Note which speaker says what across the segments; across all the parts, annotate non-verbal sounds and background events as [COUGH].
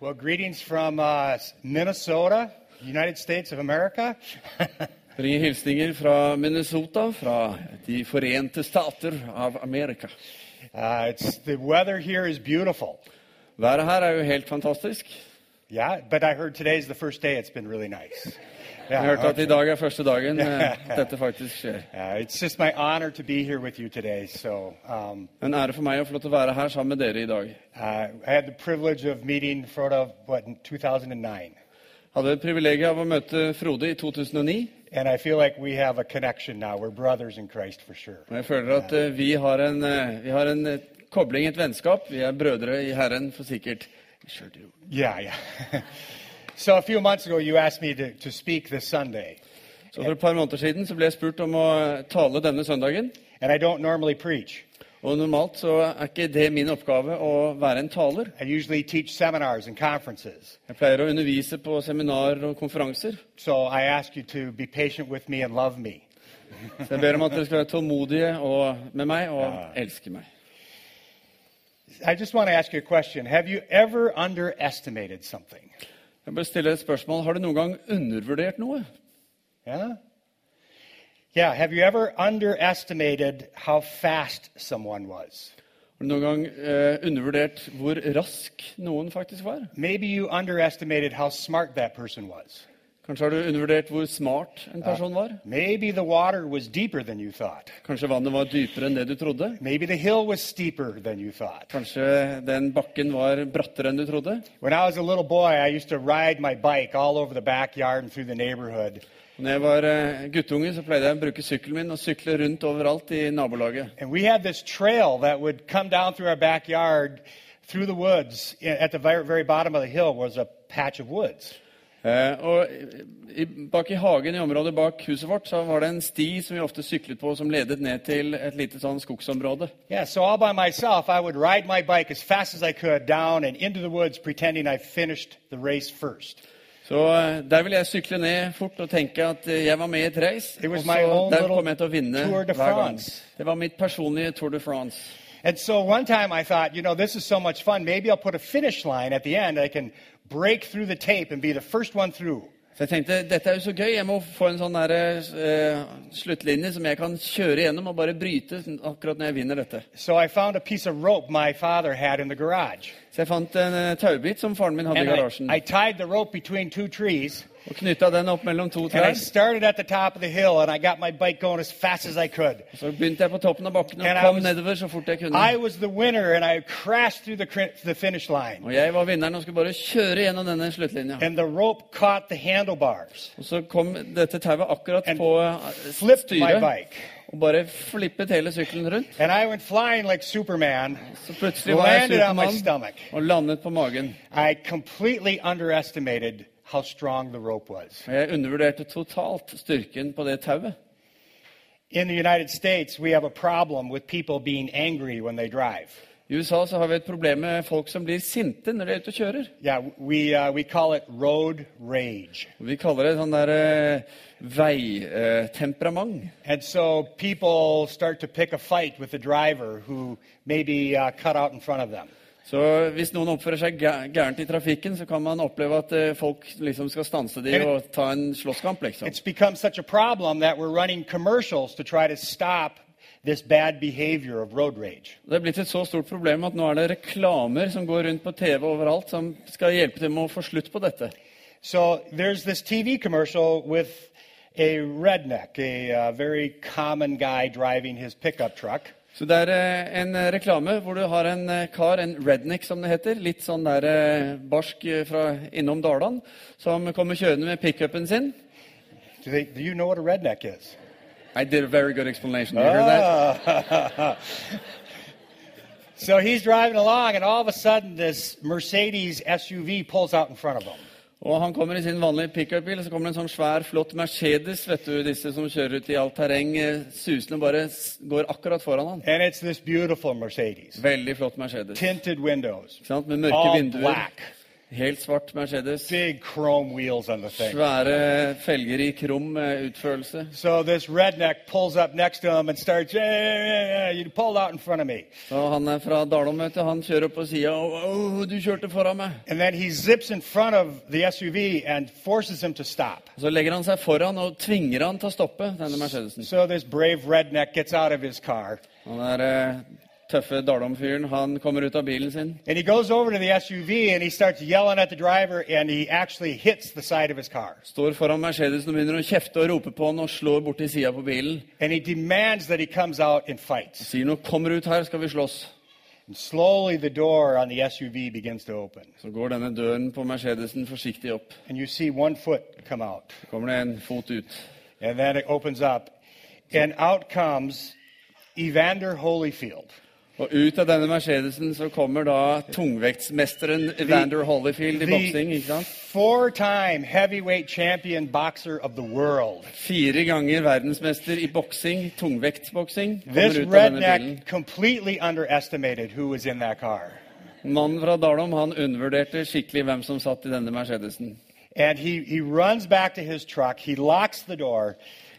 Speaker 1: Well, greetings from uh, Minnesota, United States of America. [LAUGHS] Uh,
Speaker 2: Bringer hilsninger fra Minnesota, fra De forente stater av Amerika.
Speaker 1: Uh, it's the weather here is beautiful.
Speaker 2: Været her er jo helt fantastisk.
Speaker 1: Yeah, but I heard today's the first day. It's been really nice.
Speaker 2: Jeg
Speaker 1: Yeah,
Speaker 2: hørte at i dag er første dagen eh, at dette faktisk skjer.
Speaker 1: uh, it's just my honor to be here with you today. So um,
Speaker 2: En ære for meg å få lov til å være her sammen med dere i dag.
Speaker 1: uh, I had the privilege of meeting Frodo what in 2009,
Speaker 2: Hadde privilegiet av å møte Frode i 2009,
Speaker 1: and I feel like we have a connection now. We're brothers in Christ for sure.
Speaker 2: og jeg føler at eh, vi har en, eh, vi har en eh, kobling, et vennskap. Vi er brødre i Herren, for sikkert. Sure do.
Speaker 1: Yeah, yeah. [LAUGHS] so a few months ago, you asked me to, to speak this Sunday,
Speaker 2: Så for et par måneder siden så ble jeg spurt om å eh, tale denne søndagen.
Speaker 1: and I don't normally preach.
Speaker 2: Og normalt så er ikke det min oppgave å være en taler.
Speaker 1: I usually teach seminars and conferences.
Speaker 2: Jeg pleier å undervise på seminarer og konferanser.
Speaker 1: So I ask you to be patient with me and love me.
Speaker 2: Så jeg ber om at dere skal være tålmodige og, med meg og elske meg.
Speaker 1: I just want to ask you a question. Have you ever underestimated something?
Speaker 2: Jeg bør stille et spørsmål. Har du noen gang undervurdert noe?
Speaker 1: Yeah? Yeah, have you ever underestimated how fast someone was?
Speaker 2: Har du noen gang eh, undervurdert hvor rask noen faktisk var?
Speaker 1: Maybe you underestimated how smart that person was.
Speaker 2: Kanskje har du undervurdert hvor smart en person var?
Speaker 1: Maybe the water was deeper than you thought.
Speaker 2: Kanskje vannet var dypere enn det du trodde?
Speaker 1: Maybe the hill was steeper than you thought.
Speaker 2: Kanskje den bakken var brattere enn du trodde?
Speaker 1: When I was a little boy, I used to ride my bike all over the backyard and through the neighborhood.
Speaker 2: Når jeg var eh, guttunge, så pleide jeg å bruke sykkelen min og sykle rundt overalt i nabolaget.
Speaker 1: And we had this trail that would come down through our backyard, through the woods. At the very, very bottom of the hill was a patch of woods.
Speaker 2: Eh, og i, bak i hagen i området bak huset vårt så var det en sti som vi ofte syklet på, som ledet ned til et lite sånn skogsområde.
Speaker 1: Yeah, so all by myself, I would ride my bike as fast as I could down and into the woods, pretending I finished the race first.
Speaker 2: Så eh, der ville jeg sykle ned fort og tenke at eh, jeg var med i et race.
Speaker 1: It
Speaker 2: Og
Speaker 1: was
Speaker 2: så
Speaker 1: my own
Speaker 2: der
Speaker 1: little
Speaker 2: kom jeg til å vinne
Speaker 1: Tour de
Speaker 2: hver gang.
Speaker 1: France.
Speaker 2: Det var mitt personlige Tour de France.
Speaker 1: And so one time I thought, you know, this is so much fun. Maybe I'll put a finish line at the end. I can break through the tape and be the first one through.
Speaker 2: Så jeg tenkte dette er jo så gøy, jeg må få en sånn der, eh, sluttlinje som jeg kan kjøre gjennom og bare bryte sånn akkurat når jeg vinner dette.
Speaker 1: So I found a piece of rope my father had in the garage.
Speaker 2: Så jeg fant en eh, taubit som faren min hadde
Speaker 1: And
Speaker 2: i
Speaker 1: I,
Speaker 2: garasjen,
Speaker 1: I tied the rope between two trees.
Speaker 2: og knytta den opp mellom to
Speaker 1: And I
Speaker 2: trær.
Speaker 1: started at the top of the hill, and I got my bike going as fast as I could.
Speaker 2: Så begynte jeg på toppen av bakken og
Speaker 1: And I
Speaker 2: kom
Speaker 1: was-
Speaker 2: nedover så fort jeg kunne.
Speaker 1: I was the winner, and I crashed through the, cr- the finish line.
Speaker 2: Og jeg var vinneren og skulle bare kjøre gjennom denne sluttlinja.
Speaker 1: And the rope caught the handlebars,
Speaker 2: Og så kom dette tauet akkurat
Speaker 1: And
Speaker 2: på eh,
Speaker 1: flipped my
Speaker 2: styret
Speaker 1: bike.
Speaker 2: og bare flippet hele sykkelen rundt.
Speaker 1: And I went flying like Superman,
Speaker 2: Så plutselig var jeg
Speaker 1: landed on my
Speaker 2: Supermann
Speaker 1: stomach.
Speaker 2: og landet på magen.
Speaker 1: I completely underestimated how strong the rope was.
Speaker 2: Og jeg undervurderte totalt styrken på det tauet.
Speaker 1: In the United States, we have a problem with people being angry when they drive.
Speaker 2: I USA så har vi et problem med folk som blir sinte når de er ute og kjører.
Speaker 1: Yeah, we, uh, we call it road rage.
Speaker 2: Og Vi kaller det sånn der eh, veitemperament.
Speaker 1: And so people start to pick a fight with the driver who maybe uh, cut out in front of them.
Speaker 2: Så hvis noen oppfører seg gæ- gærent i trafikken, så kan man oppleve at eh, folk liksom skal stanse de
Speaker 1: Men-
Speaker 2: og ta en slåsskamp, liksom.
Speaker 1: It's become such a problem that we're running commercials to try to stop this bad behavior of road rage.
Speaker 2: Det er blitt et så stort problem at nå er det reklamer som går rundt på TV overalt, som skal hjelpe til med å få slutt på dette.
Speaker 1: So there's this TV commercial with a redneck, a uh, very common guy driving his pickup truck.
Speaker 2: Så det er eh, en eh, reklame hvor du har en eh, kar, en redneck som det heter, litt sånn der eh, barsk eh, fra innom Dalan, som kommer kjørende med pickupen sin.
Speaker 1: Do, they, do you know what a redneck is?
Speaker 2: I did a very good explanation. You hear that?
Speaker 1: [LAUGHS] so he's driving along, and all of a sudden, this Mercedes SUV pulls out in front of him.
Speaker 2: Og han kommer i sin vanlige pickupbil, og så kommer det en sånn svær, flott Mercedes. vet du, Disse som kjører ut i alt terreng, eh, susende bare s- går akkurat foran han.
Speaker 1: And it's this beautiful Mercedes.
Speaker 2: Veldig flott Mercedes.
Speaker 1: Tinted windows.
Speaker 2: Ikke sant? Med
Speaker 1: All
Speaker 2: mørke vinduer.
Speaker 1: black.
Speaker 2: Helt svart Mercedes.
Speaker 1: big chrome wheels on the thing.
Speaker 2: Svære felger i krum eh, utførelse.
Speaker 1: So this redneck pulls up next to him and starts, yeah, yeah, yeah, yeah, you pulled out in front of me.
Speaker 2: Og han er fra Dalom, vet du. Han kjører opp på sida og «Åh, du kjørte foran meg.
Speaker 1: And then he zips in front of the SUV and forces him to stop.
Speaker 2: Og Så legger han seg foran og tvinger han til å stoppe denne Mercedesen.
Speaker 1: So this brave redneck gets out of his car
Speaker 2: Han der eh, tøffe Dalom-fyren, han kommer ut av bilen sin.
Speaker 1: and he goes over to the SUV and he starts yelling at the driver and he actually hits the side of his car.
Speaker 2: Står foran Mercedesen og begynner å kjefte og rope på han og slår borti sida på bilen.
Speaker 1: And he demands that he comes out and fights.
Speaker 2: Sier noe 'kommer ut her, skal vi slåss'.
Speaker 1: And slowly the door on the SUV begins to open
Speaker 2: Så går denne døren på Mercedesen forsiktig opp.
Speaker 1: and you see one foot come out
Speaker 2: Så kommer det en fot ut.
Speaker 1: and then it opens up and out comes Evander Holyfield.
Speaker 2: Og ut av denne Mercedesen så kommer da tungvektsmesteren Vander Hollyfield i boksing. ikke sant?
Speaker 1: four time heavyweight champion boxer of the world.
Speaker 2: Fire ganger verdensmester i boksing, tungvektboksing.
Speaker 1: This
Speaker 2: Kommer ut av denne bilen.
Speaker 1: redneck completely underestimated who was in that car.
Speaker 2: Mannen fra Dalom han undervurderte skikkelig hvem som satt i denne Mercedesen.
Speaker 1: And he, he runs back to his truck, he locks the door,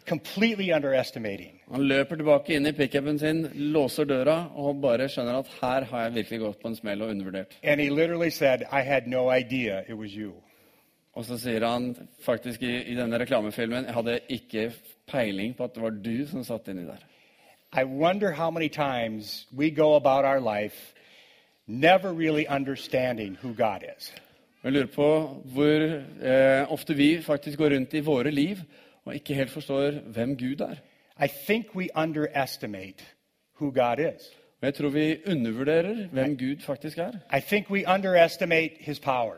Speaker 1: completely underestimating.
Speaker 2: Han løper tilbake inn i pickupen sin, låser døra og bare skjønner at her har jeg virkelig gått på en smell og undervurdert.
Speaker 1: And he literally said, I had no idea it was you.
Speaker 2: Og så sier han faktisk i, i denne reklamefilmen Jeg hadde ikke peiling på at det var du som satt inni der.
Speaker 1: I wonder how many times we go about our life never really understanding who God is.
Speaker 2: Og Jeg lurer på hvor eh, ofte vi faktisk går rundt i våre liv og ikke helt forstår hvem Gud er.
Speaker 1: I think we underestimate who God is.
Speaker 2: Og jeg tror vi undervurderer hvem Gud faktisk er.
Speaker 1: I think we underestimate his power.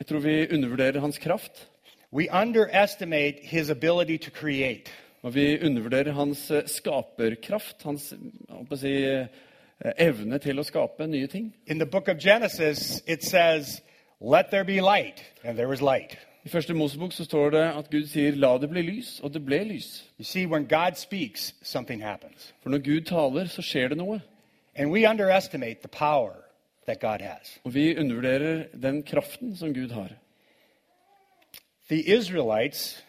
Speaker 2: Jeg tror vi undervurderer hans kraft.
Speaker 1: We underestimate his ability to create.
Speaker 2: Og vi undervurderer hans eh, skaperkraft, hans jeg holdt på å si, eh, evne til å skape nye ting.
Speaker 1: In the book of Genesis, it says, Let there be light, and there was light.
Speaker 2: I første Mosebok så står det at Gud sier 'la det bli lys', og det ble lys.
Speaker 1: You see, when God speaks, something happens.
Speaker 2: For når Gud taler, så skjer det noe.
Speaker 1: And we underestimate the power that God has.
Speaker 2: Og vi undervurderer den kraften som Gud har.
Speaker 1: The Israelites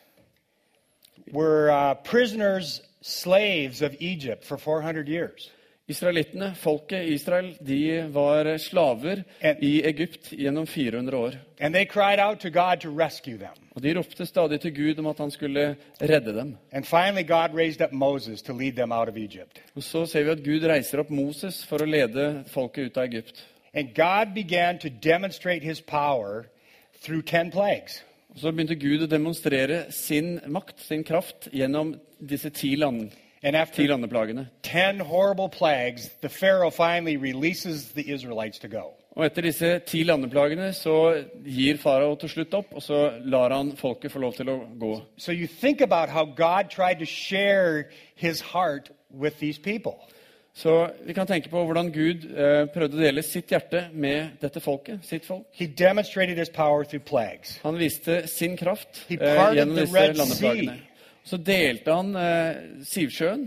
Speaker 1: were uh, prisoners, slaves of Egypt for 400 years.
Speaker 2: Israelittene, folket i Israel, de var slaver
Speaker 1: En-
Speaker 2: i Egypt gjennom 400 år.
Speaker 1: And they cried out to God to rescue them.
Speaker 2: Og de ropte stadig til Gud om at han skulle redde dem.
Speaker 1: And finally, God raised up Moses to lead them out of Egypt.
Speaker 2: Og så ser vi at Gud reiser opp Moses for å lede folket ut av Egypt.
Speaker 1: And God began to demonstrate his power through 10 plagues.
Speaker 2: Og så begynte Gud å demonstrere sin makt, sin kraft, gjennom disse ti, land,
Speaker 1: And
Speaker 2: ti
Speaker 1: after
Speaker 2: landeplagene.
Speaker 1: 10 horrible plagues, the Pharaoh finally releases the Israelites to go.
Speaker 2: Og etter disse ti landeplagene så gir farao til slutt opp, og så lar han folket få lov til å gå.
Speaker 1: So you think about how God tried to share his heart with these people.
Speaker 2: Så vi kan tenke på hvordan Gud eh, prøvde å dele sitt hjerte med dette folket, sitt folk.
Speaker 1: He demonstrated his power through plagues.
Speaker 2: Han viste sin kraft
Speaker 1: He
Speaker 2: eh,
Speaker 1: parted
Speaker 2: gjennom
Speaker 1: the
Speaker 2: disse
Speaker 1: Red
Speaker 2: landeplagene. Så delte han eh, Sivsjøen,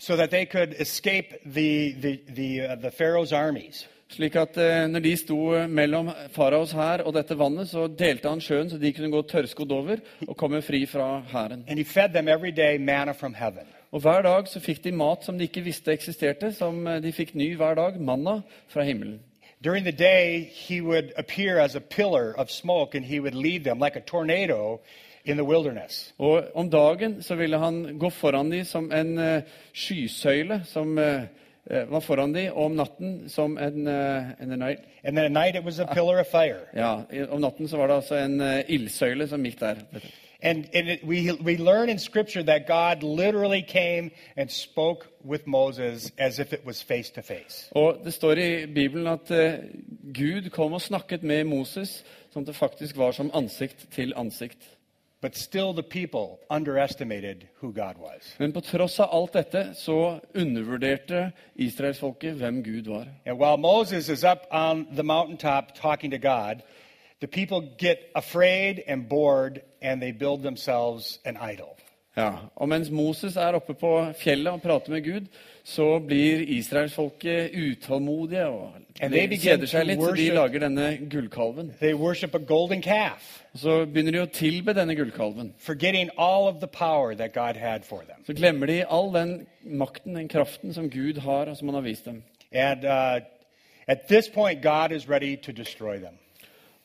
Speaker 1: so that they could escape the, the, the, uh, the Pharaoh's armies.
Speaker 2: slik at eh, når de sto mellom faraos hær og dette vannet, så delte han sjøen så de kunne gå tørrskodd over og komme fri fra hæren.
Speaker 1: And he fed them every day manna from heaven.
Speaker 2: Og hver dag så fikk de mat som de ikke visste eksisterte, som eh, de fikk ny hver dag, manna fra himmelen.
Speaker 1: During the day, he would appear as a pillar of smoke and he would lead them like a tornado in the wilderness.
Speaker 2: Og om dagen så ville han gå foran de som en eh, skysøyle som eh, eh, var foran de, og om natten som en, eh, en, en
Speaker 1: And then at night, it was a pillar of fire.
Speaker 2: Ja, i- Om natten så var det altså en eh, ildsøyle som gikk der.
Speaker 1: And, and it, we, we learn in Scripture that God literally came and spoke with Moses as if it was face to face.
Speaker 2: Og det står i Bibelen at eh, Gud kom og snakket med Moses sånn at det faktisk var som ansikt til ansikt.
Speaker 1: But still, the people underestimated who God was.
Speaker 2: Men på tross av alt dette så undervurderte israelsfolket hvem Gud var.
Speaker 1: And while Moses is up on the mountaintop talking to God, the people get afraid and bored and they build themselves an idol.
Speaker 2: Ja, Og mens Moses er oppe på fjellet og prater med Gud, så blir israelsfolket utålmodige og
Speaker 1: And
Speaker 2: de
Speaker 1: they begin
Speaker 2: kjeder seg
Speaker 1: to
Speaker 2: litt, så de
Speaker 1: worship-
Speaker 2: lager denne gullkalven.
Speaker 1: They worship a golden calf,
Speaker 2: Og så begynner de å tilbe denne gullkalven.
Speaker 1: forgetting all of the power that God had for them.
Speaker 2: Så glemmer de all den makten, den kraften, som Gud har, og som han har vist dem.
Speaker 1: And uh, at this point, God is ready to destroy them.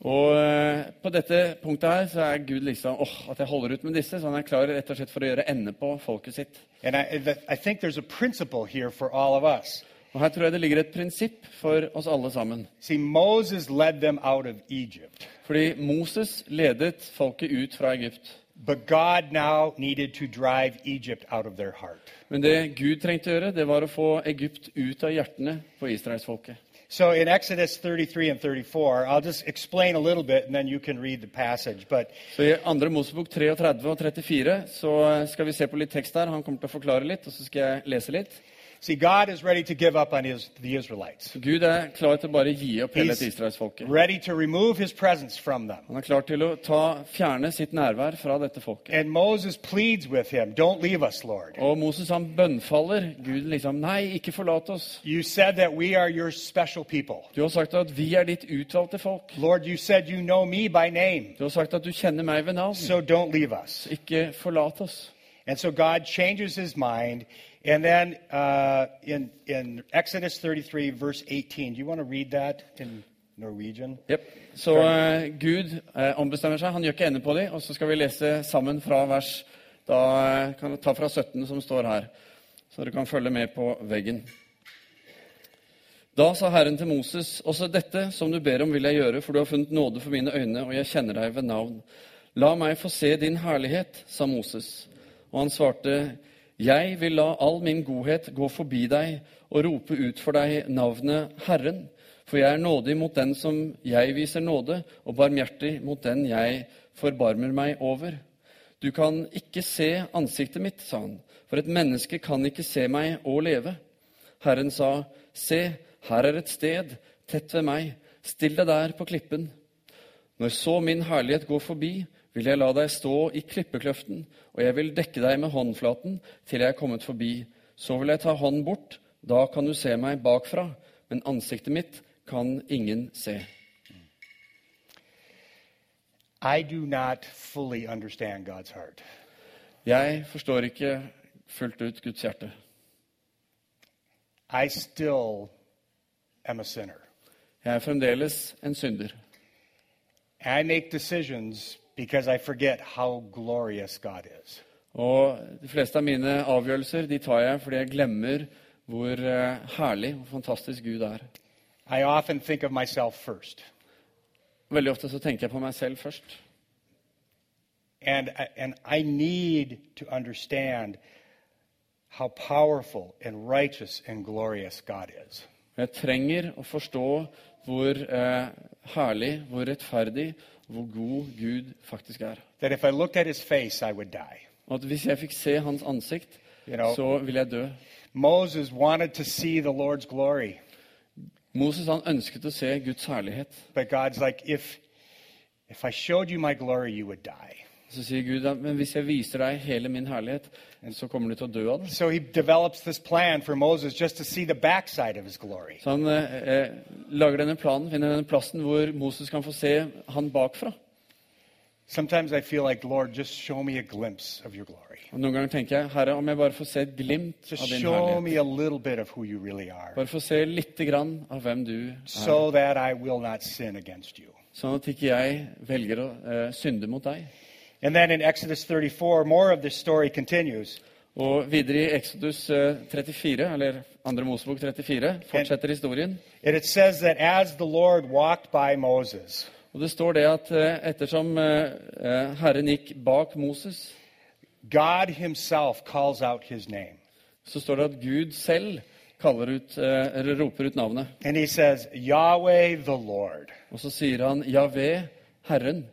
Speaker 2: Og eh, på dette punktet her så er Gud liksom åh, at jeg holder ut med disse. Så han er klar rett og slett for å gjøre ende på folket sitt.
Speaker 1: And I, th- I think there's a principle here for all of us.
Speaker 2: Og her tror jeg det ligger et prinsipp for oss alle sammen.
Speaker 1: See, Moses led them out of Egypt,
Speaker 2: Fordi Moses ledet folket ut fra Egypt.
Speaker 1: but God now needed to drive Egypt out of their heart.
Speaker 2: Men det Gud trengte å gjøre, det var å få Egypt ut av hjertene på israelsfolket.
Speaker 1: So in Exodus 33 and 34, I'll just explain a little bit and then you can read the passage. But
Speaker 2: Så I 2. Mosebok 33 og 34 så skal vi se på litt tekst der. Han kommer til å forklare litt, og så skal jeg lese litt.
Speaker 1: see, God is ready to give up on his, the Israelites.
Speaker 2: Gud er klar til å bare gi opp hele dette
Speaker 1: He's
Speaker 2: israelsfolket.
Speaker 1: ready to remove his presence from them.
Speaker 2: Han er klar til å ta, fjerne sitt nærvær fra dette folket.
Speaker 1: And Moses pleads with him, Don't leave us, Lord.
Speaker 2: Og Moses han bønnfaller. Gud liksom Nei, ikke forlat oss.
Speaker 1: You said that we are your special people.
Speaker 2: Du har sagt at vi er ditt utvalgte folk.
Speaker 1: Lord, you said you know me by name,
Speaker 2: Du har sagt at du kjenner meg ved navn.
Speaker 1: so don't leave us.
Speaker 2: Ikke forlat oss.
Speaker 1: And so God changes his mind. And then uh, in, in Exodus 33, verse 18, do you want to read that in Norwegian?
Speaker 2: Jep. Så eh, Gud eh, ombestemmer seg. Han gjør ikke ende på dem. Og så skal vi lese sammen fra vers da eh, kan du ta fra 17 som står her, så dere kan følge med på veggen. Da sa Herren til Moses, også dette som du ber om vil jeg gjøre, for du har funnet nåde for mine øyne, og jeg kjenner deg ved navn. La meg få se din herlighet, sa Moses. Og han svarte, jeg vil la all min godhet gå forbi deg og rope ut for deg navnet Herren, for jeg er nådig mot den som jeg viser nåde, og barmhjertig mot den jeg forbarmer meg over. Du kan ikke se ansiktet mitt, sa han, for et menneske kan ikke se meg og leve. Herren sa, Se, her er et sted, tett ved meg, still deg der på klippen. Når så min herlighet går forbi, vil jeg la deg stå i klippekløften, og jeg vil dekke deg med håndflaten til jeg er kommet forbi. Så vil jeg ta hånden bort, da kan du se meg bakfra, men ansiktet mitt kan ingen se.
Speaker 1: I do not fully understand God's heart.
Speaker 2: Jeg forstår ikke fullt ut Guds hjerte.
Speaker 1: I still am a sinner.
Speaker 2: Jeg er fremdeles en synder.
Speaker 1: And I make decisions because I forget how glorious God is.
Speaker 2: Og de fleste av mine avgjørelser de tar jeg fordi jeg glemmer hvor eh, herlig og fantastisk Gud er.
Speaker 1: I often think of myself first.
Speaker 2: Veldig ofte så tenker jeg på meg selv først.
Speaker 1: And, I- and I need to understand how powerful and righteous and glorious God is.
Speaker 2: Jeg trenger å forstå hvor eh, herlig, hvor rettferdig, hvor god Gud faktisk er.
Speaker 1: That if I looked at his face, I would die.
Speaker 2: Og at hvis jeg fikk se hans ansikt,
Speaker 1: You know-
Speaker 2: så vil jeg dø.
Speaker 1: Moses wanted to see the Lord's glory,
Speaker 2: Moses han ønsket å se Guds herlighet.
Speaker 1: but God's like, if, if I showed you my glory, you would die.
Speaker 2: Så sier Gud "Ja, men hvis jeg viser deg hele min herlighet, så kommer du til å dø av det.
Speaker 1: So he develops this plan for Moses just to see the backside of his glory.
Speaker 2: Så han eh, eh, lager denne planen, finner denne plassen hvor Moses kan få se han bakfra.
Speaker 1: Sometimes I feel like, Lord, just show me a glimpse of your glory.
Speaker 2: Og Noen ganger tenker jeg Herre, om jeg bare får se et glimt
Speaker 1: Just
Speaker 2: av din
Speaker 1: show
Speaker 2: herlighet.
Speaker 1: me a little bit of who you really are
Speaker 2: Bare få se lite grann av hvem du er.
Speaker 1: so that I will not sin against you.
Speaker 2: Sånn at ikke jeg velger å eh, synde mot deg.
Speaker 1: And then in Exodus 34, more of this story continues.
Speaker 2: Og videre i Exodus eh, 34, eller 2. Mosebok 34, fortsetter historien.
Speaker 1: And it says that as the Lord walked by Moses,
Speaker 2: Og det står det at eh, ettersom eh, eh, Herren gikk bak Moses,
Speaker 1: God himself calls out his name.
Speaker 2: så står det at Gud selv kaller ut, eh, eller roper ut navnet.
Speaker 1: And he says, Yahweh the Lord,
Speaker 2: Og så sier han Javé, Herren.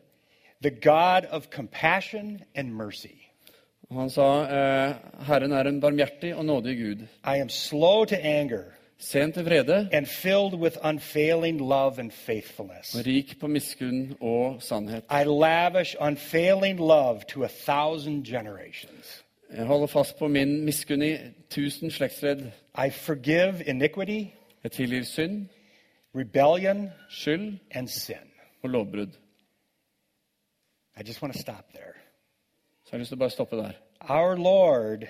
Speaker 1: the God of compassion and mercy.
Speaker 2: Og han sa eh, Herren er en barmhjertig og nådig Gud.
Speaker 1: I am slow to anger
Speaker 2: Sen til vrede,
Speaker 1: and filled with unfailing love and faithfulness.
Speaker 2: og rik på miskunn og sannhet.
Speaker 1: I lavish unfailing love to a thousand generations.
Speaker 2: Jeg holder fast på min miskunn i tusen slektsledd.
Speaker 1: I forgive iniquity,
Speaker 2: Jeg tilgir synd,
Speaker 1: rebellion,
Speaker 2: skyld
Speaker 1: and sin.
Speaker 2: og lovbrudd.
Speaker 1: I just want to stop there.
Speaker 2: Så jeg har lyst til å bare stoppe der.
Speaker 1: Our Lord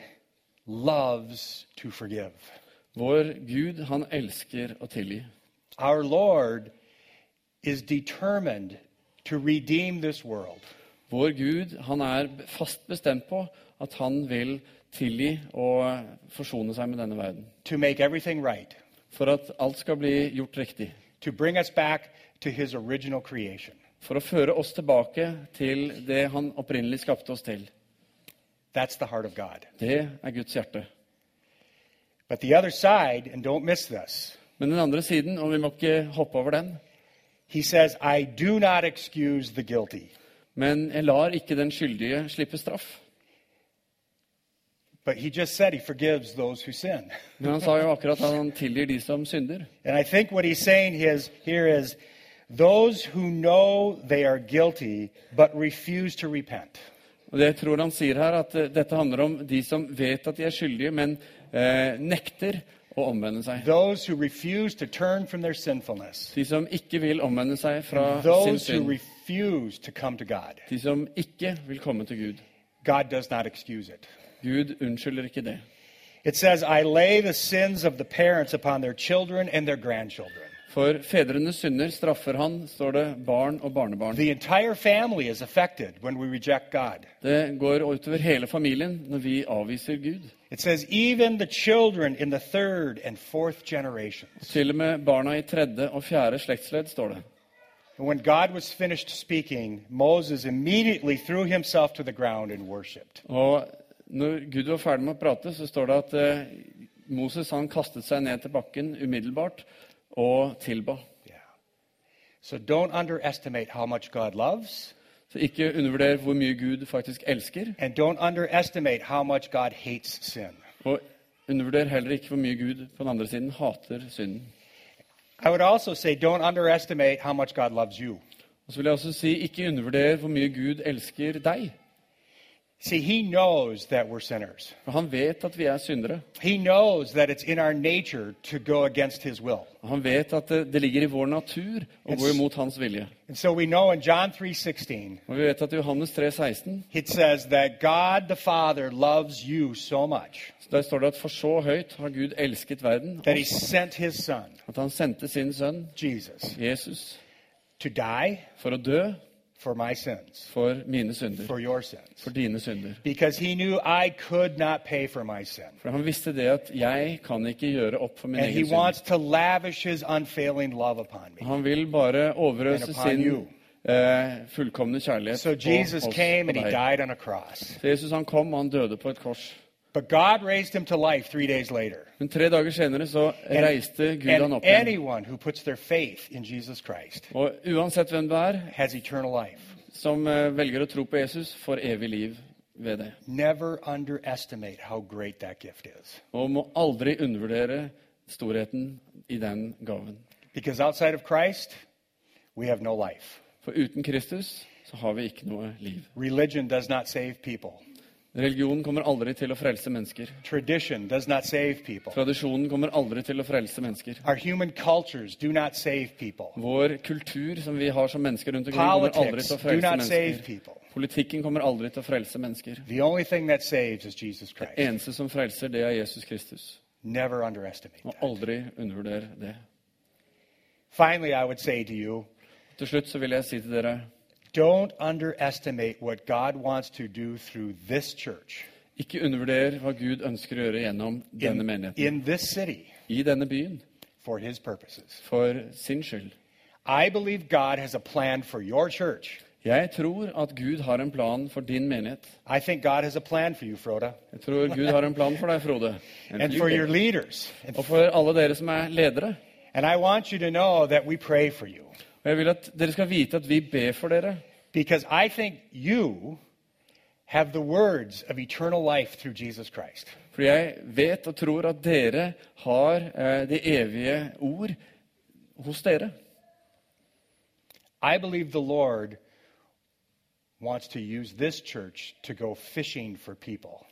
Speaker 1: loves to forgive.
Speaker 2: Vår Gud, han elsker å tilgi.
Speaker 1: Our Lord is determined to redeem this world.
Speaker 2: Vår Gud, han er fast bestemt på at han vil tilgi og forsone seg med denne verden.
Speaker 1: to make everything right,
Speaker 2: For at alt skal bli gjort riktig.
Speaker 1: to bring us back to his original creation.
Speaker 2: For å føre oss tilbake til det han opprinnelig skapte oss til.
Speaker 1: That's the heart of God.
Speaker 2: Det er Guds hjerte.
Speaker 1: But the other side, and don't miss this,
Speaker 2: Men den andre siden, og vi må ikke hoppe over den
Speaker 1: he says, I do not excuse the guilty,
Speaker 2: Men jeg lar ikke den skyldige slippe straff.
Speaker 1: but he just said he forgives those who sin.
Speaker 2: Men han sa jo akkurat at han tilgir de som synder.
Speaker 1: And I think what he's saying is, here is those who know they are guilty but refuse to repent.
Speaker 2: Og det jeg tror han sier her, at eh, dette handler om de som vet at de er skyldige, men eh, nekter å omvende seg.
Speaker 1: Those who refuse to turn from their sinfulness.
Speaker 2: De som ikke vil omvende seg fra uh, sin
Speaker 1: Those who
Speaker 2: synd.
Speaker 1: refuse to come to God.
Speaker 2: De som ikke vil komme til Gud.
Speaker 1: God does not excuse it.
Speaker 2: Gud unnskylder ikke det.
Speaker 1: It says, I lay the sins of the parents upon their children and their grandchildren.
Speaker 2: For fedrenes synder straffer han, står det, barn og barnebarn.
Speaker 1: The entire family is affected when we reject God.
Speaker 2: Det går utover hele familien når vi avviser Gud.
Speaker 1: It says, even the children in the third and fourth generations.
Speaker 2: Til og med barna i tredje og fjerde slektsledd, står det.
Speaker 1: And when God was finished speaking, Moses immediately threw himself to the ground and worshiped.
Speaker 2: Og når Gud var ferdig med å prate, så står det at eh, Moses han kastet seg ned til bakken umiddelbart og tilba.
Speaker 1: Yeah. So don't underestimate how much God loves,
Speaker 2: Så ikke undervurder hvor mye Gud faktisk elsker,
Speaker 1: and don't underestimate how much God hates sin.
Speaker 2: og undervurder heller ikke hvor mye Gud på den andre siden hater synden.
Speaker 1: I would also say, don't underestimate how much God loves you.
Speaker 2: Og så vil jeg også si, ikke undervurder hvor mye Gud elsker deg.
Speaker 1: See, he knows that we're sinners.
Speaker 2: For han vet at vi er syndere.
Speaker 1: He knows that it's in our nature to go against his will.
Speaker 2: Og han vet at det, det ligger i vår natur å gå imot hans vilje.
Speaker 1: And so we know in John 3:16
Speaker 2: Og vi vet at i Johannes 3, 16,
Speaker 1: it says that God the Father loves you so much
Speaker 2: så der står det at for så høyt har Gud elsket verden,
Speaker 1: that he sent his son
Speaker 2: at han sendte sin sønn
Speaker 1: Jesus
Speaker 2: Jesus
Speaker 1: to die
Speaker 2: for å dø
Speaker 1: for my sins,
Speaker 2: for mine synder,
Speaker 1: for your sins,
Speaker 2: for dine synder.
Speaker 1: because he knew I could not pay for my sin.
Speaker 2: For han visste det at jeg kan ikke gjøre opp for min
Speaker 1: And he
Speaker 2: egen synd.
Speaker 1: wants to lavish his unfailing love upon me.
Speaker 2: Han vil bare overøse
Speaker 1: And upon
Speaker 2: sin
Speaker 1: you.
Speaker 2: eh, fullkomne kjærlighet
Speaker 1: So Jesus
Speaker 2: på oss
Speaker 1: came and
Speaker 2: og
Speaker 1: he
Speaker 2: deg.
Speaker 1: died on a cross.
Speaker 2: Så Jesus han kom, og han døde på et kors.
Speaker 1: But God raised him to life 3 days later.
Speaker 2: Men tre dager senere så reiste Gud han
Speaker 1: And
Speaker 2: opp igjen.
Speaker 1: anyone who puts their faith in Jesus Christ
Speaker 2: Og uansett hvem du er,
Speaker 1: has eternal life.
Speaker 2: som eh, velger å tro på Jesus, får evig liv ved det.
Speaker 1: Never underestimate how great that gift is.
Speaker 2: Og må aldri undervurdere storheten i den gaven.
Speaker 1: Because outside of Christ, we have no life.
Speaker 2: For uten Kristus så har vi ikke noe liv.
Speaker 1: Religion does not save people,
Speaker 2: Religionen kommer aldri til å frelse mennesker.
Speaker 1: tradition does not save people,
Speaker 2: Tradisjonen kommer aldri til å frelse mennesker.
Speaker 1: our human cultures do not save people,
Speaker 2: Vår kultur som vi har som mennesker rundt omkring, kommer aldri
Speaker 1: politics
Speaker 2: til å
Speaker 1: do
Speaker 2: frelse
Speaker 1: not save
Speaker 2: mennesker.
Speaker 1: people.
Speaker 2: Politikken kommer aldri til å frelse mennesker.
Speaker 1: The only thing that saves is Jesus Christ.
Speaker 2: Eneste som frelser, det er Jesus Kristus.
Speaker 1: Never underestimate
Speaker 2: Og
Speaker 1: that.
Speaker 2: aldri undervurder det.
Speaker 1: Finally, I would say to you
Speaker 2: Til slutt så vil jeg si til dere
Speaker 1: don't underestimate what God wants to do through this church,
Speaker 2: ikke undervurder hva Gud ønsker å gjøre gjennom denne
Speaker 1: in,
Speaker 2: menigheten,
Speaker 1: in this city,
Speaker 2: i denne byen,
Speaker 1: for his purposes.
Speaker 2: for sin skyld.
Speaker 1: I believe God has a plan for your church.
Speaker 2: Jeg tror at Gud har en plan for din menighet.
Speaker 1: I think God has a plan for you, Froda,
Speaker 2: Jeg tror Gud har en plan for deg, Frode.
Speaker 1: [LAUGHS]
Speaker 2: En
Speaker 1: and
Speaker 2: for
Speaker 1: for
Speaker 2: you,
Speaker 1: your
Speaker 2: Gud.
Speaker 1: leaders. And,
Speaker 2: Og for alle dere som er ledere.
Speaker 1: and I want you to know that we pray for you
Speaker 2: Og jeg vil at dere skal vite at vi ber for dere.
Speaker 1: because I think you have the words of eternal life through Jesus Christ.
Speaker 2: For jeg vet og tror at dere har eh, det evige ord hos dere.
Speaker 1: I believe the Lord wants to use this church to go fishing for people.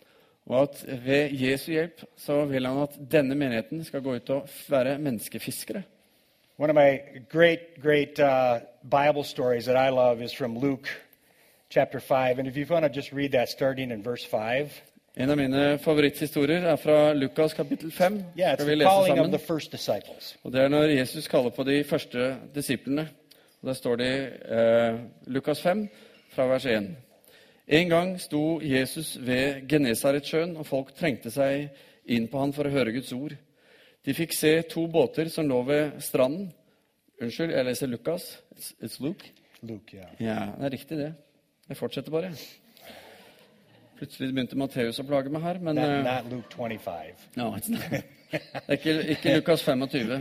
Speaker 2: og at ved Jesu hjelp så vil han at denne menigheten skal gå ut og være menneskefiskere.
Speaker 1: One of my great, great uh, Bible stories that I love is from Luke chapter 5. And if you want to just read that starting in verse 5,
Speaker 2: En av mine favoritthistorier er fra Lukas kapittel 5.
Speaker 1: yeah, it's
Speaker 2: skal vi
Speaker 1: the
Speaker 2: lese
Speaker 1: calling of
Speaker 2: sammen.
Speaker 1: the first disciples.
Speaker 2: Og Det er når Jesus kaller på de første disiplene. Og Der står det i eh, Lukas 5, fra vers 1. En gang sto Jesus ved Genesaretsjøen, og folk trengte seg inn på han for å høre Guds ord. De fikk se to båter som lå ved stranden. Unnskyld, jeg leser Lukas. It's, it's Luke.
Speaker 1: Luke, yeah.
Speaker 2: Ja, det er riktig, det. Jeg fortsetter bare. Plutselig begynte Matteus å plage meg her, men
Speaker 1: Not,
Speaker 2: eh,
Speaker 1: not Luke 25.
Speaker 2: No, it's not. [LAUGHS] Det er ikke, ikke Lukas 25.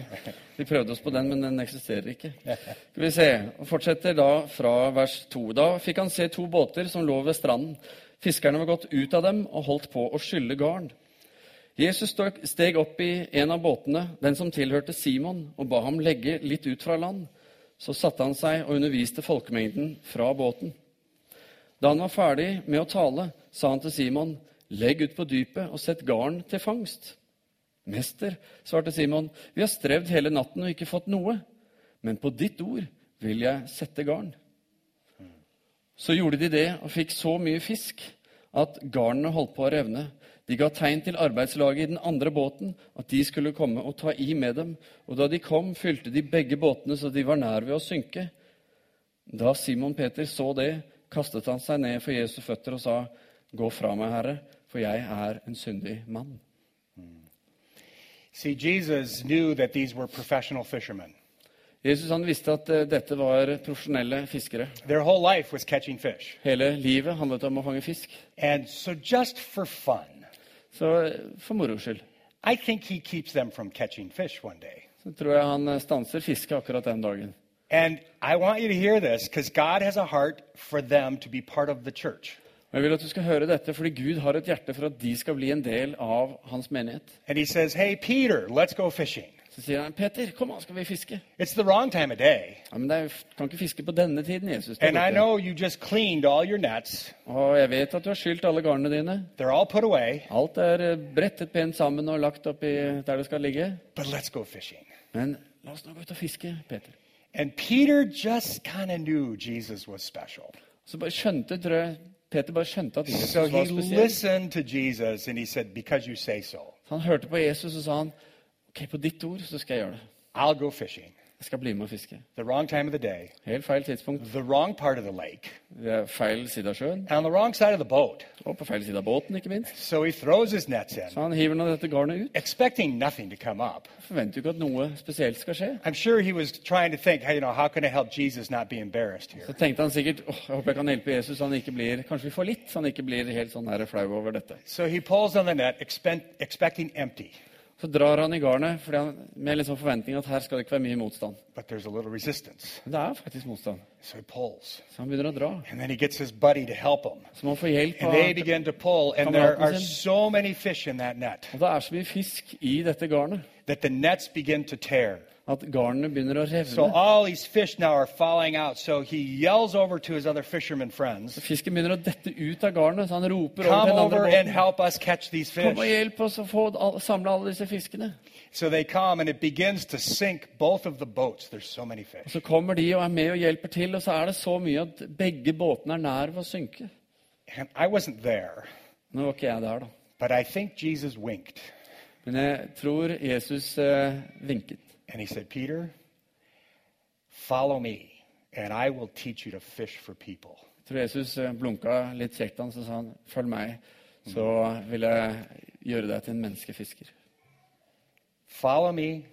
Speaker 2: Vi prøvde oss på den, men den eksisterer ikke. Skal vi se, og Fortsetter da fra vers 2. Da fikk han se to båter som lå ved stranden. Fiskerne var gått ut av dem og holdt på å skylle garn. Jesus støk- steg opp i en av båtene, den som tilhørte Simon, og ba ham legge litt ut fra land. Så satte han seg og underviste folkemengden fra båten. Da han var ferdig med å tale, sa han til Simon, legg ut på dypet og sett garn til fangst. Mester, svarte Simon, vi har strevd hele natten og ikke fått noe, men på ditt ord vil jeg sette garn. Så gjorde de det og fikk så mye fisk at garnene holdt på å revne. De ga tegn til arbeidslaget i den andre båten at de skulle komme og ta i med dem, og da de kom, fylte de begge båtene så de var nær ved å synke. Da Simon Peter så det, kastet han seg ned for Jesu føtter og sa, Gå fra meg, Herre, for jeg er en syndig mann.
Speaker 1: See, Jesus knew that these were professional fishermen.
Speaker 2: Jesus han visste at eh, dette var profesjonelle fiskere.
Speaker 1: Their whole life was catching fish.
Speaker 2: Hele livet handlet om å fange fisk.
Speaker 1: And so, just for fun,
Speaker 2: Så eh, for moro skyld
Speaker 1: I think he keeps them from catching fish one day.
Speaker 2: så tror jeg han eh, stanser fisket akkurat den dagen.
Speaker 1: And I want you to hear this because God has a heart for them to be part of the church.
Speaker 2: Og Jeg vil at du skal høre dette, fordi Gud har et hjerte for at de skal bli en del av hans menighet.
Speaker 1: And he says, Hey, Peter, let's go fishing.
Speaker 2: Så sier han, 'Peter, kom an, skal vi fiske?'
Speaker 1: It's the wrong time of day.
Speaker 2: Ja, 'Men det er, jo f- kan ikke fiske på denne tiden, Jesus.' Det er
Speaker 1: And I
Speaker 2: borte.
Speaker 1: know you just cleaned all your nets,
Speaker 2: Og jeg vet at du har skylt alle garnene dine.
Speaker 1: they're all put away,
Speaker 2: Alt er eh, brettet pent sammen og lagt oppi der det skal ligge.
Speaker 1: but let's go fishing.
Speaker 2: Men la oss nå gå ut og fiske, Peter.
Speaker 1: And Peter just kind of knew Jesus was special.
Speaker 2: Så bare skjønte, tror jeg, Peter bare skjønte at Jesus
Speaker 1: So he
Speaker 2: var spesiell.
Speaker 1: listened to Jesus and he said, Because you say so,
Speaker 2: Så Han hørte på Jesus og sa han, ok, på ditt ord så skal jeg gjøre det.
Speaker 1: I'll go fishing.
Speaker 2: Jeg skal bli med og fiske.
Speaker 1: The wrong time of the day,
Speaker 2: Helt feil tidspunkt.
Speaker 1: the wrong part of the lake,
Speaker 2: Det er feil side av sjøen,
Speaker 1: on the wrong side of the boat.
Speaker 2: og på feil side av båten, ikke minst.
Speaker 1: So he throws his nets in,
Speaker 2: Så han hiver nå dette garnet ut.
Speaker 1: expecting nothing to come up.
Speaker 2: Forventer jo ikke at noe spesielt skal skje.
Speaker 1: I'm sure he was trying to think, hey, you know, how can I help Jesus not be embarrassed here?
Speaker 2: Så tenkte han sikkert, åh, jeg håper jeg kan hjelpe Jesus, så han ikke blir, kanskje vi får litt, så han ikke blir helt sånn her flau over dette.
Speaker 1: So he pulls on the net, expect, expecting empty,
Speaker 2: Så drar han i garnet fordi han, med liksom forventning at her skal det ikke være mye motstand.
Speaker 1: but there's a little resistance.
Speaker 2: Men det er faktisk motstand.
Speaker 1: So he pulls.
Speaker 2: Så han begynner å dra.
Speaker 1: And then he gets his buddy to help him.
Speaker 2: Så man får hjelp
Speaker 1: And
Speaker 2: av
Speaker 1: they begin to pull, and there are so many fish in that net
Speaker 2: Og det er så mye fisk i dette garnet
Speaker 1: that the nets begin to tear.
Speaker 2: at garnene begynner å
Speaker 1: So
Speaker 2: revne.
Speaker 1: all these fish now are falling out. So he yells over to his other fishermen friends,
Speaker 2: Fisken begynner å dette ut av garnet, så han roper over
Speaker 1: come
Speaker 2: til den andre
Speaker 1: over and
Speaker 2: båten.
Speaker 1: help us catch these
Speaker 2: Kom og
Speaker 1: fish.
Speaker 2: hjelp oss å få, all- samle alle disse fiskene.
Speaker 1: So they come, and it begins to sink both of the boats. There's so many fish.
Speaker 2: Så kommer de og er med og hjelper til, og så er det så mye at begge båtene er nær ved å synke.
Speaker 1: And I wasn't there,
Speaker 2: Nå var ikke jeg der, da.
Speaker 1: but I think Jesus winked.
Speaker 2: Men jeg tror Jesus eh, vinket.
Speaker 1: And he said, Peter, follow me, and I will teach you to fish for people.
Speaker 2: Jeg tror Jesus eh, blunka litt kjekt han, så sa han, følg meg, så vil jeg gjøre deg til en menneskefisker.
Speaker 1: Follow me,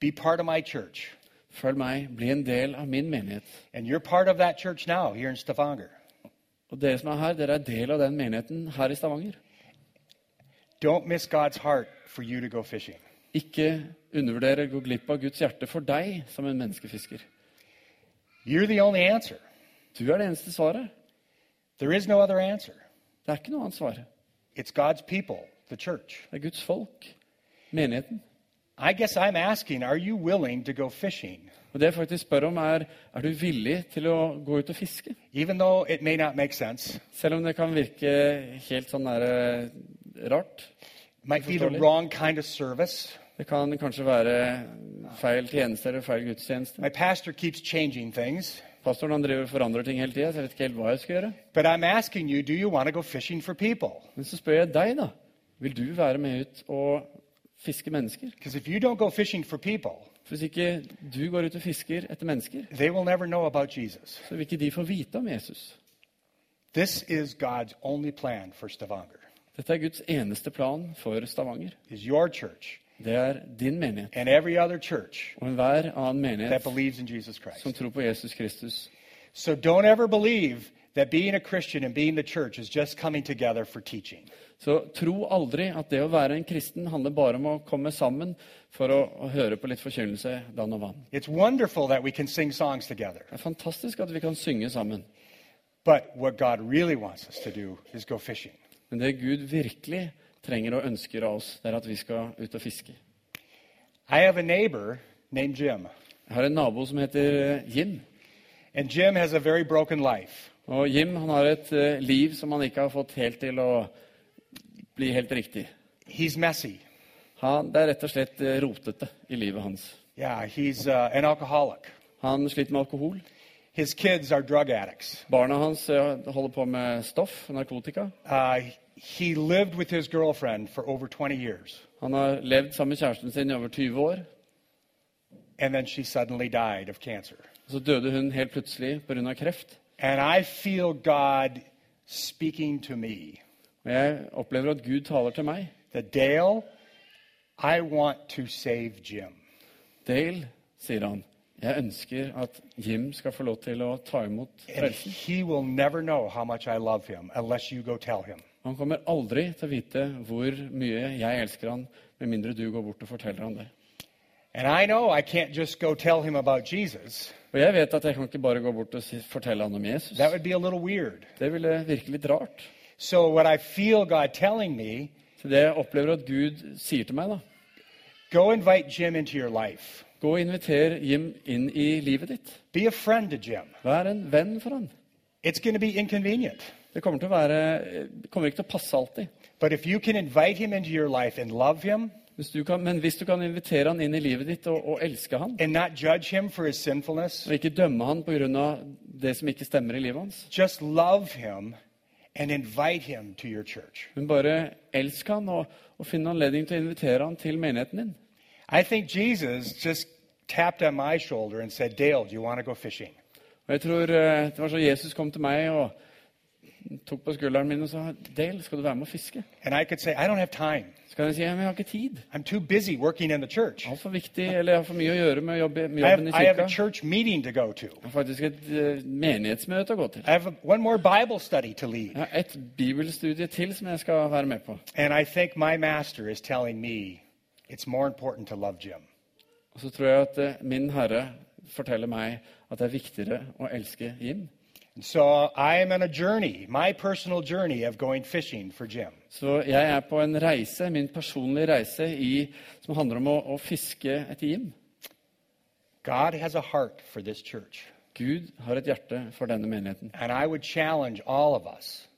Speaker 1: be part of my church.
Speaker 2: Følg meg, bli en del av min menighet.
Speaker 1: And you're part of that church now here in Stavanger.
Speaker 2: Og dere som er her, dere er del av den menigheten her i Stavanger.
Speaker 1: Don't miss God's heart for you to go fishing.
Speaker 2: Ikke undervurdere, gå glipp av Guds hjerte for deg som en menneskefisker.
Speaker 1: You're the only answer.
Speaker 2: Du er det eneste svaret.
Speaker 1: There is no other answer.
Speaker 2: Det er ikke noe annet svar.
Speaker 1: It's God's people, the church.
Speaker 2: Det er Guds folk, menigheten.
Speaker 1: I guess I'm asking, are you willing to go fishing?
Speaker 2: Og det jeg faktisk spør om, er er du villig til å gå ut og fiske?
Speaker 1: Even though it may not make sense,
Speaker 2: Selv om det kan virke helt sånn der, eh, rart.
Speaker 1: might be the
Speaker 2: Uforståelig.
Speaker 1: wrong kind of service.
Speaker 2: Det kan kanskje være feil tjeneste eller feil gudstjeneste.
Speaker 1: My pastor keeps changing things.
Speaker 2: Pastoren han driver og forandrer ting hele tida, så jeg vet ikke helt hva jeg skal gjøre.
Speaker 1: But I'm asking you, do you want to go fishing for people?
Speaker 2: Men så spør jeg deg, da. Vil du være med ut og fiske mennesker?
Speaker 1: Because if you don't go fishing for people,
Speaker 2: For Hvis ikke du går ut og fisker etter mennesker,
Speaker 1: they will never know about Jesus.
Speaker 2: så vil ikke de få vite om Jesus.
Speaker 1: This is God's only plan for Stavanger.
Speaker 2: Dette er Guds eneste plan for Stavanger.
Speaker 1: Is your church
Speaker 2: Det er din menighet
Speaker 1: and every other church
Speaker 2: og enhver annen
Speaker 1: that
Speaker 2: menighet
Speaker 1: believes in Jesus Christ.
Speaker 2: som tror på Jesus Kristus.
Speaker 1: So don't ever believe that being a Christian and being the church is just coming together for teaching.
Speaker 2: Så tro aldri at det å være en kristen handler bare om å komme sammen for å, å høre på litt forkynnelse, dann og vann.
Speaker 1: It's wonderful that we can sing songs together.
Speaker 2: Det er fantastisk at vi kan synge sammen.
Speaker 1: But what God really wants us to do is go fishing.
Speaker 2: Men det Gud virkelig trenger og ønsker av oss, det er at vi skal ut og fiske.
Speaker 1: I have a neighbor named Jim,
Speaker 2: Jeg har en nabo som heter eh, Jim.
Speaker 1: and Jim has a very broken life.
Speaker 2: Og Jim han har et eh, liv som han ikke har fått helt til å bli helt riktig.
Speaker 1: He's messy.
Speaker 2: Han, det er rett og slett eh, rotete i livet hans.
Speaker 1: Yeah, he's uh, an alcoholic.
Speaker 2: Han sliter med alkohol.
Speaker 1: His kids are drug addicts.
Speaker 2: Barna hans eh, holder på med stoff, narkotika.
Speaker 1: Uh, he lived with his girlfriend for over 20 years,
Speaker 2: Han har levd sammen med kjæresten sin i over 20 år.
Speaker 1: and then she suddenly died of cancer.
Speaker 2: Og så døde hun helt plutselig pga. kreft.
Speaker 1: And I feel God speaking to me
Speaker 2: Og jeg opplever at Gud taler til meg.
Speaker 1: that Dale, I want to save Jim.
Speaker 2: Dale, sier han, jeg ønsker at Jim skal få lov til å ta imot
Speaker 1: And
Speaker 2: frelsen.
Speaker 1: he will never know how much I love him unless you go tell him.
Speaker 2: Han kommer aldri til å vite hvor mye jeg elsker han, med mindre du går bort og forteller han det.
Speaker 1: And I know I can't just go tell him about Jesus.
Speaker 2: Og jeg vet at jeg kan ikke bare gå bort og si, fortelle han om Jesus.
Speaker 1: That would be a little weird.
Speaker 2: Det ville virke litt rart.
Speaker 1: So, what I feel God telling me
Speaker 2: Så det jeg opplever at Gud sier til meg, da
Speaker 1: go invite Jim into your life,
Speaker 2: Gå og inviter Jim inn i livet ditt.
Speaker 1: be a friend to Jim.
Speaker 2: Vær en venn for han.
Speaker 1: It's going to be inconvenient.
Speaker 2: Det kommer, til å være, det kommer ikke til å passe alltid.
Speaker 1: But if you can invite him into your life and love him
Speaker 2: Hvis du kan, men hvis du kan invitere han inn i livet ditt og, og elske han,
Speaker 1: and not judge him for his sinfulness,
Speaker 2: og ikke dømme han pga. det som ikke stemmer i livet hans,
Speaker 1: just love him and invite him to your church.
Speaker 2: men bare elsk han og, og finn anledning til å invitere han til menigheten din
Speaker 1: I think Jesus just tapped on my shoulder and said, Dale, do you want to go fishing?
Speaker 2: Og jeg tror eh, Det var så Jesus kom til meg og tok på skulderen min og sa Dale, skal du være med og fiske?
Speaker 1: And I could say, I don't have time.
Speaker 2: Så kan jeg si «Ja, men jeg har ikke tid.
Speaker 1: I'm too busy working in the church.
Speaker 2: Jeg er for viktig, eller jeg har for mye å gjøre med, jobb, med
Speaker 1: I have,
Speaker 2: jobben i
Speaker 1: I have a
Speaker 2: kirka.
Speaker 1: church meeting to go to.
Speaker 2: Jeg har faktisk et eh, menighetsmøte å gå til.
Speaker 1: I have one more Bible study to
Speaker 2: Jeg
Speaker 1: lead.
Speaker 2: har et bibelstudie til som jeg skal være med på.
Speaker 1: And I think my master is telling me it's more important to love Jim.
Speaker 2: Og så tror jeg at eh, min Herre forteller meg at det er viktigere å elske Jim.
Speaker 1: And so I am on a journey, my personal journey of going fishing for Jim.
Speaker 2: Så jeg er på en reise, min personlige reise, i, som handler om å, å fiske etter Jim.
Speaker 1: God has a heart for this church.
Speaker 2: Gud har et hjerte for denne menigheten.
Speaker 1: And I would challenge all of us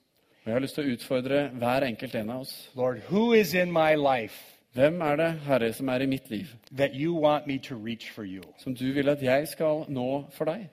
Speaker 2: Og jeg har lyst til å utfordre hver enkelt en av oss.
Speaker 1: Lord, who is in my life
Speaker 2: Hvem er det, Herre, som er i mitt liv,
Speaker 1: that you want me to reach for you?
Speaker 2: som du vil at jeg skal nå for deg?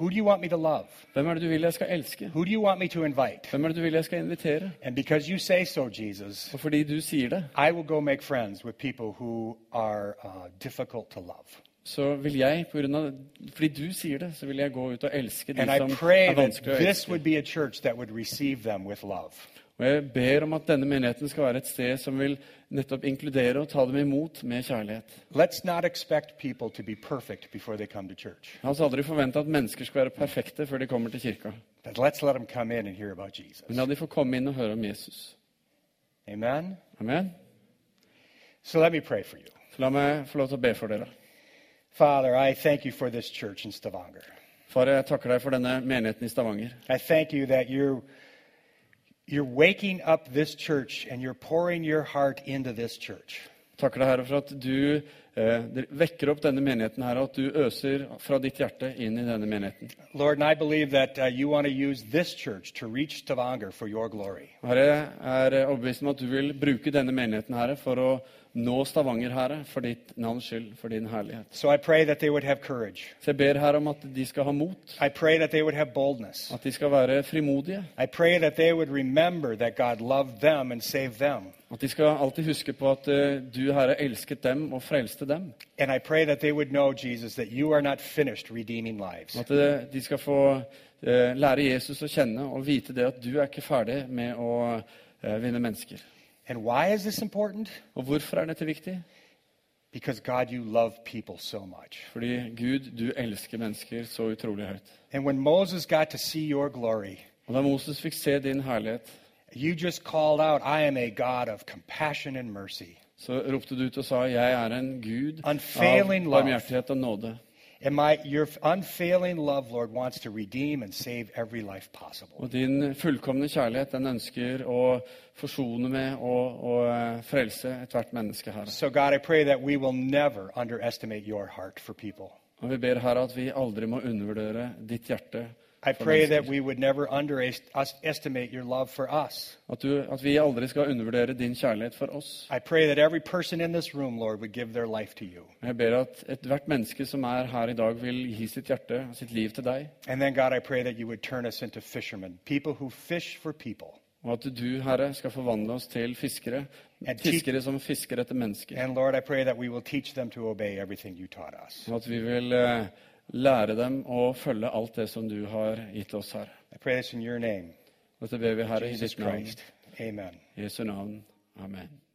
Speaker 1: Who do you want me to love?
Speaker 2: Hvem er det du vil jeg skal elske?
Speaker 1: Who do you want me to invite?
Speaker 2: Hvem er det du vil jeg skal invitere?
Speaker 1: And because you say so, Jesus,
Speaker 2: Og fordi du sier det,
Speaker 1: I will go make friends with people who are uh, difficult to love.
Speaker 2: så vil jeg, på grunn av, fordi du sier det, så vil jeg gå ut og elske de
Speaker 1: And I
Speaker 2: som
Speaker 1: pray
Speaker 2: er
Speaker 1: that
Speaker 2: vanskelig å
Speaker 1: this
Speaker 2: elske.
Speaker 1: would be a church that would receive them with love.
Speaker 2: Og jeg ber om at denne menigheten skal være et sted som vil nettopp inkludere og ta dem imot med kjærlighet.
Speaker 1: Let's not expect people to be perfect before they come to church,
Speaker 2: La oss aldri forvente at mennesker skal være perfekte før de kommer til kirka.
Speaker 1: but let's let them come in and hear about Jesus.
Speaker 2: Men la de få komme inn og høre om Jesus.
Speaker 1: Amen?
Speaker 2: Amen.
Speaker 1: So let me pray for you.
Speaker 2: Så la meg få lov til å be for dere.
Speaker 1: Father, I thank you for this church in Stavanger.
Speaker 2: Far, jeg takker deg for denne menigheten i Stavanger.
Speaker 1: I thank you that you're, you're waking up this church and you're pouring your heart into this church.
Speaker 2: Takker deg, Herre, for at du eh, dere vekker opp denne menigheten her, og at du øser fra ditt hjerte inn i denne menigheten.
Speaker 1: Lord, and I believe that uh, you want to use this church to reach Stavanger for your glory.
Speaker 2: Herre, jeg er overbevist om at du vil bruke denne menigheten her for å nå Stavanger herre, for ditt navns skyld, for din herlighet.
Speaker 1: So I pray that they would have courage.
Speaker 2: Så jeg ber her om at de skal ha mot,
Speaker 1: I pray that they would have boldness.
Speaker 2: at de skal være frimodige,
Speaker 1: I pray that they would remember that God loved them and saved them.
Speaker 2: at de skal alltid huske på at eh, du, Herre, elsket dem og frelste dem.
Speaker 1: And I pray that they would know, Jesus, that you are not finished redeeming lives.
Speaker 2: At eh, de skal få eh, lære Jesus å kjenne og vite det at du er ikke ferdig med å eh, vinne mennesker.
Speaker 1: And why is this important?
Speaker 2: Og hvorfor er dette viktig?
Speaker 1: Because, God, you love people so much.
Speaker 2: Fordi Gud, du elsker mennesker så utrolig høyt.
Speaker 1: And when Moses got to see your glory,
Speaker 2: Og da Moses fikk se din herlighet,
Speaker 1: you just called out, I am a God of compassion and mercy.
Speaker 2: så ropte du ut og sa, jeg er en Gud av
Speaker 1: Unfailing love.
Speaker 2: barmhjertighet og nåde.
Speaker 1: And my, your unfailing love, Lord, wants to redeem and save every life possible.
Speaker 2: Og din fullkomne kjærlighet, den ønsker å forsone med og, og eh, frelse ethvert menneske, Herre.
Speaker 1: So, God, I pray that we will never underestimate your heart for people.
Speaker 2: Og vi ber, Herre, at vi aldri må undervurdere ditt hjerte
Speaker 1: I
Speaker 2: for
Speaker 1: pray that
Speaker 2: mennesker.
Speaker 1: we would never underestimate your love for us.
Speaker 2: At, du, at vi aldri skal undervurdere din kjærlighet for oss.
Speaker 1: I pray that every person in this room, Lord, would give their life to you.
Speaker 2: Og Jeg ber at ethvert menneske som er her i dag, vil gi sitt hjerte og sitt liv til deg.
Speaker 1: And then, God, I pray that you would turn us into fishermen, people who fish for people.
Speaker 2: Og at du, Herre, skal forvandle oss til fiskere.
Speaker 1: And keep-
Speaker 2: Fiskere som fisker etter mennesker.
Speaker 1: And Lord, I pray that we will teach them to obey everything you taught us.
Speaker 2: Og at vi vil eh, lære dem å følge alt det som du har gitt oss, Herre.
Speaker 1: I pray this in your name,
Speaker 2: Dette ber vi, Herre, i
Speaker 1: Jesus
Speaker 2: ditt navn.
Speaker 1: Christ. Amen.
Speaker 2: Jesu navn. Amen.